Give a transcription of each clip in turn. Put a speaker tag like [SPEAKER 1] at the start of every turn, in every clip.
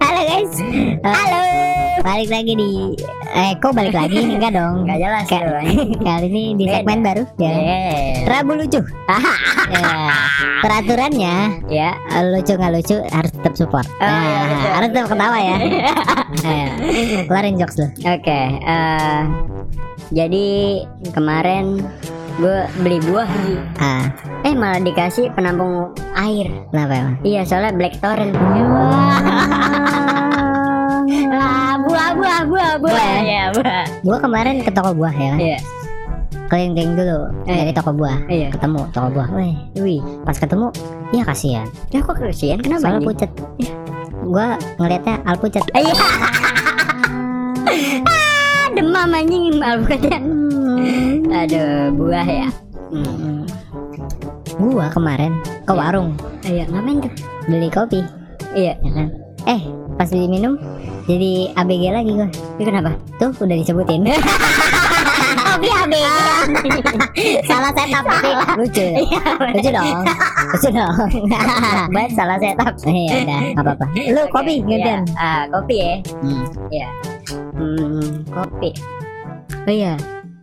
[SPEAKER 1] Halo guys. Halo. Balik lagi di eh kok balik lagi enggak dong.
[SPEAKER 2] Gak jelas
[SPEAKER 1] Ka- Kali ini di segmen baru ya.
[SPEAKER 2] Ya.
[SPEAKER 1] Rabu lucu. Ya. Peraturannya
[SPEAKER 2] Ya.
[SPEAKER 1] eh, lucu nggak lucu harus tetap support.
[SPEAKER 2] iya,
[SPEAKER 1] Nah,
[SPEAKER 2] betul.
[SPEAKER 1] harus tetap ketawa ya. Ayo, keluarin jokes lu.
[SPEAKER 2] ya, Oke. eh, jadi kemarin gue beli buah.
[SPEAKER 1] Ah,
[SPEAKER 2] Eh malah dikasih penampung air.
[SPEAKER 1] kenapa emang?
[SPEAKER 2] Iya soalnya black torrent. Abu abu abu abu.
[SPEAKER 1] Buah.
[SPEAKER 2] Iya buah.
[SPEAKER 1] Gua kemarin ke toko buah ya kan.
[SPEAKER 2] Iya.
[SPEAKER 1] Keliling-keliling dulu
[SPEAKER 2] Iya.
[SPEAKER 1] dari toko buah.
[SPEAKER 2] Iya.
[SPEAKER 1] Ketemu toko buah. Weh,
[SPEAKER 2] Wih.
[SPEAKER 1] pas ketemu, iya kasihan.
[SPEAKER 2] Ya kok kesian kenapa?
[SPEAKER 1] Soalnya
[SPEAKER 2] ini?
[SPEAKER 1] pucet Gua ngelihatnya al pucet
[SPEAKER 2] Iya. Ah, Demam anjing alpukatnya.
[SPEAKER 1] Hmm.
[SPEAKER 2] Aduh, buah ya.
[SPEAKER 1] Mm. Gua kemarin ke
[SPEAKER 2] Hmm.
[SPEAKER 1] warung
[SPEAKER 2] Ayo, Iya, ngapain tuh?
[SPEAKER 1] beli kopi
[SPEAKER 2] Iya,
[SPEAKER 1] ya kan? Eh pas diminum jadi ABG lagi gua
[SPEAKER 2] ini kenapa?
[SPEAKER 1] Tuh udah disebutin
[SPEAKER 2] Kopi habis.
[SPEAKER 1] Salah setup tapi lucu
[SPEAKER 2] Iya,
[SPEAKER 1] Lucu dong Lucu dong Banget salah setup Iya udah gak apa-apa Lu kopi gantian
[SPEAKER 2] Iya, Ah, kopi ya.
[SPEAKER 1] Hmm.
[SPEAKER 2] Iya. Hmm, kopi. Oh iya.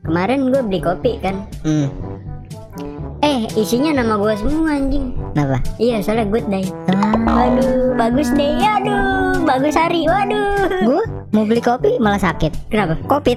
[SPEAKER 2] Kemarin gue beli kopi kan.
[SPEAKER 1] Hmm.
[SPEAKER 2] Eh, isinya nama gue semua anjing.
[SPEAKER 1] Kenapa?
[SPEAKER 2] Iya, soalnya good day.
[SPEAKER 1] Ah,
[SPEAKER 2] Waduh, bagus day. Aduh, bagus hari. Waduh.
[SPEAKER 1] Gua mau beli kopi malah sakit
[SPEAKER 2] Kenapa?
[SPEAKER 1] Covid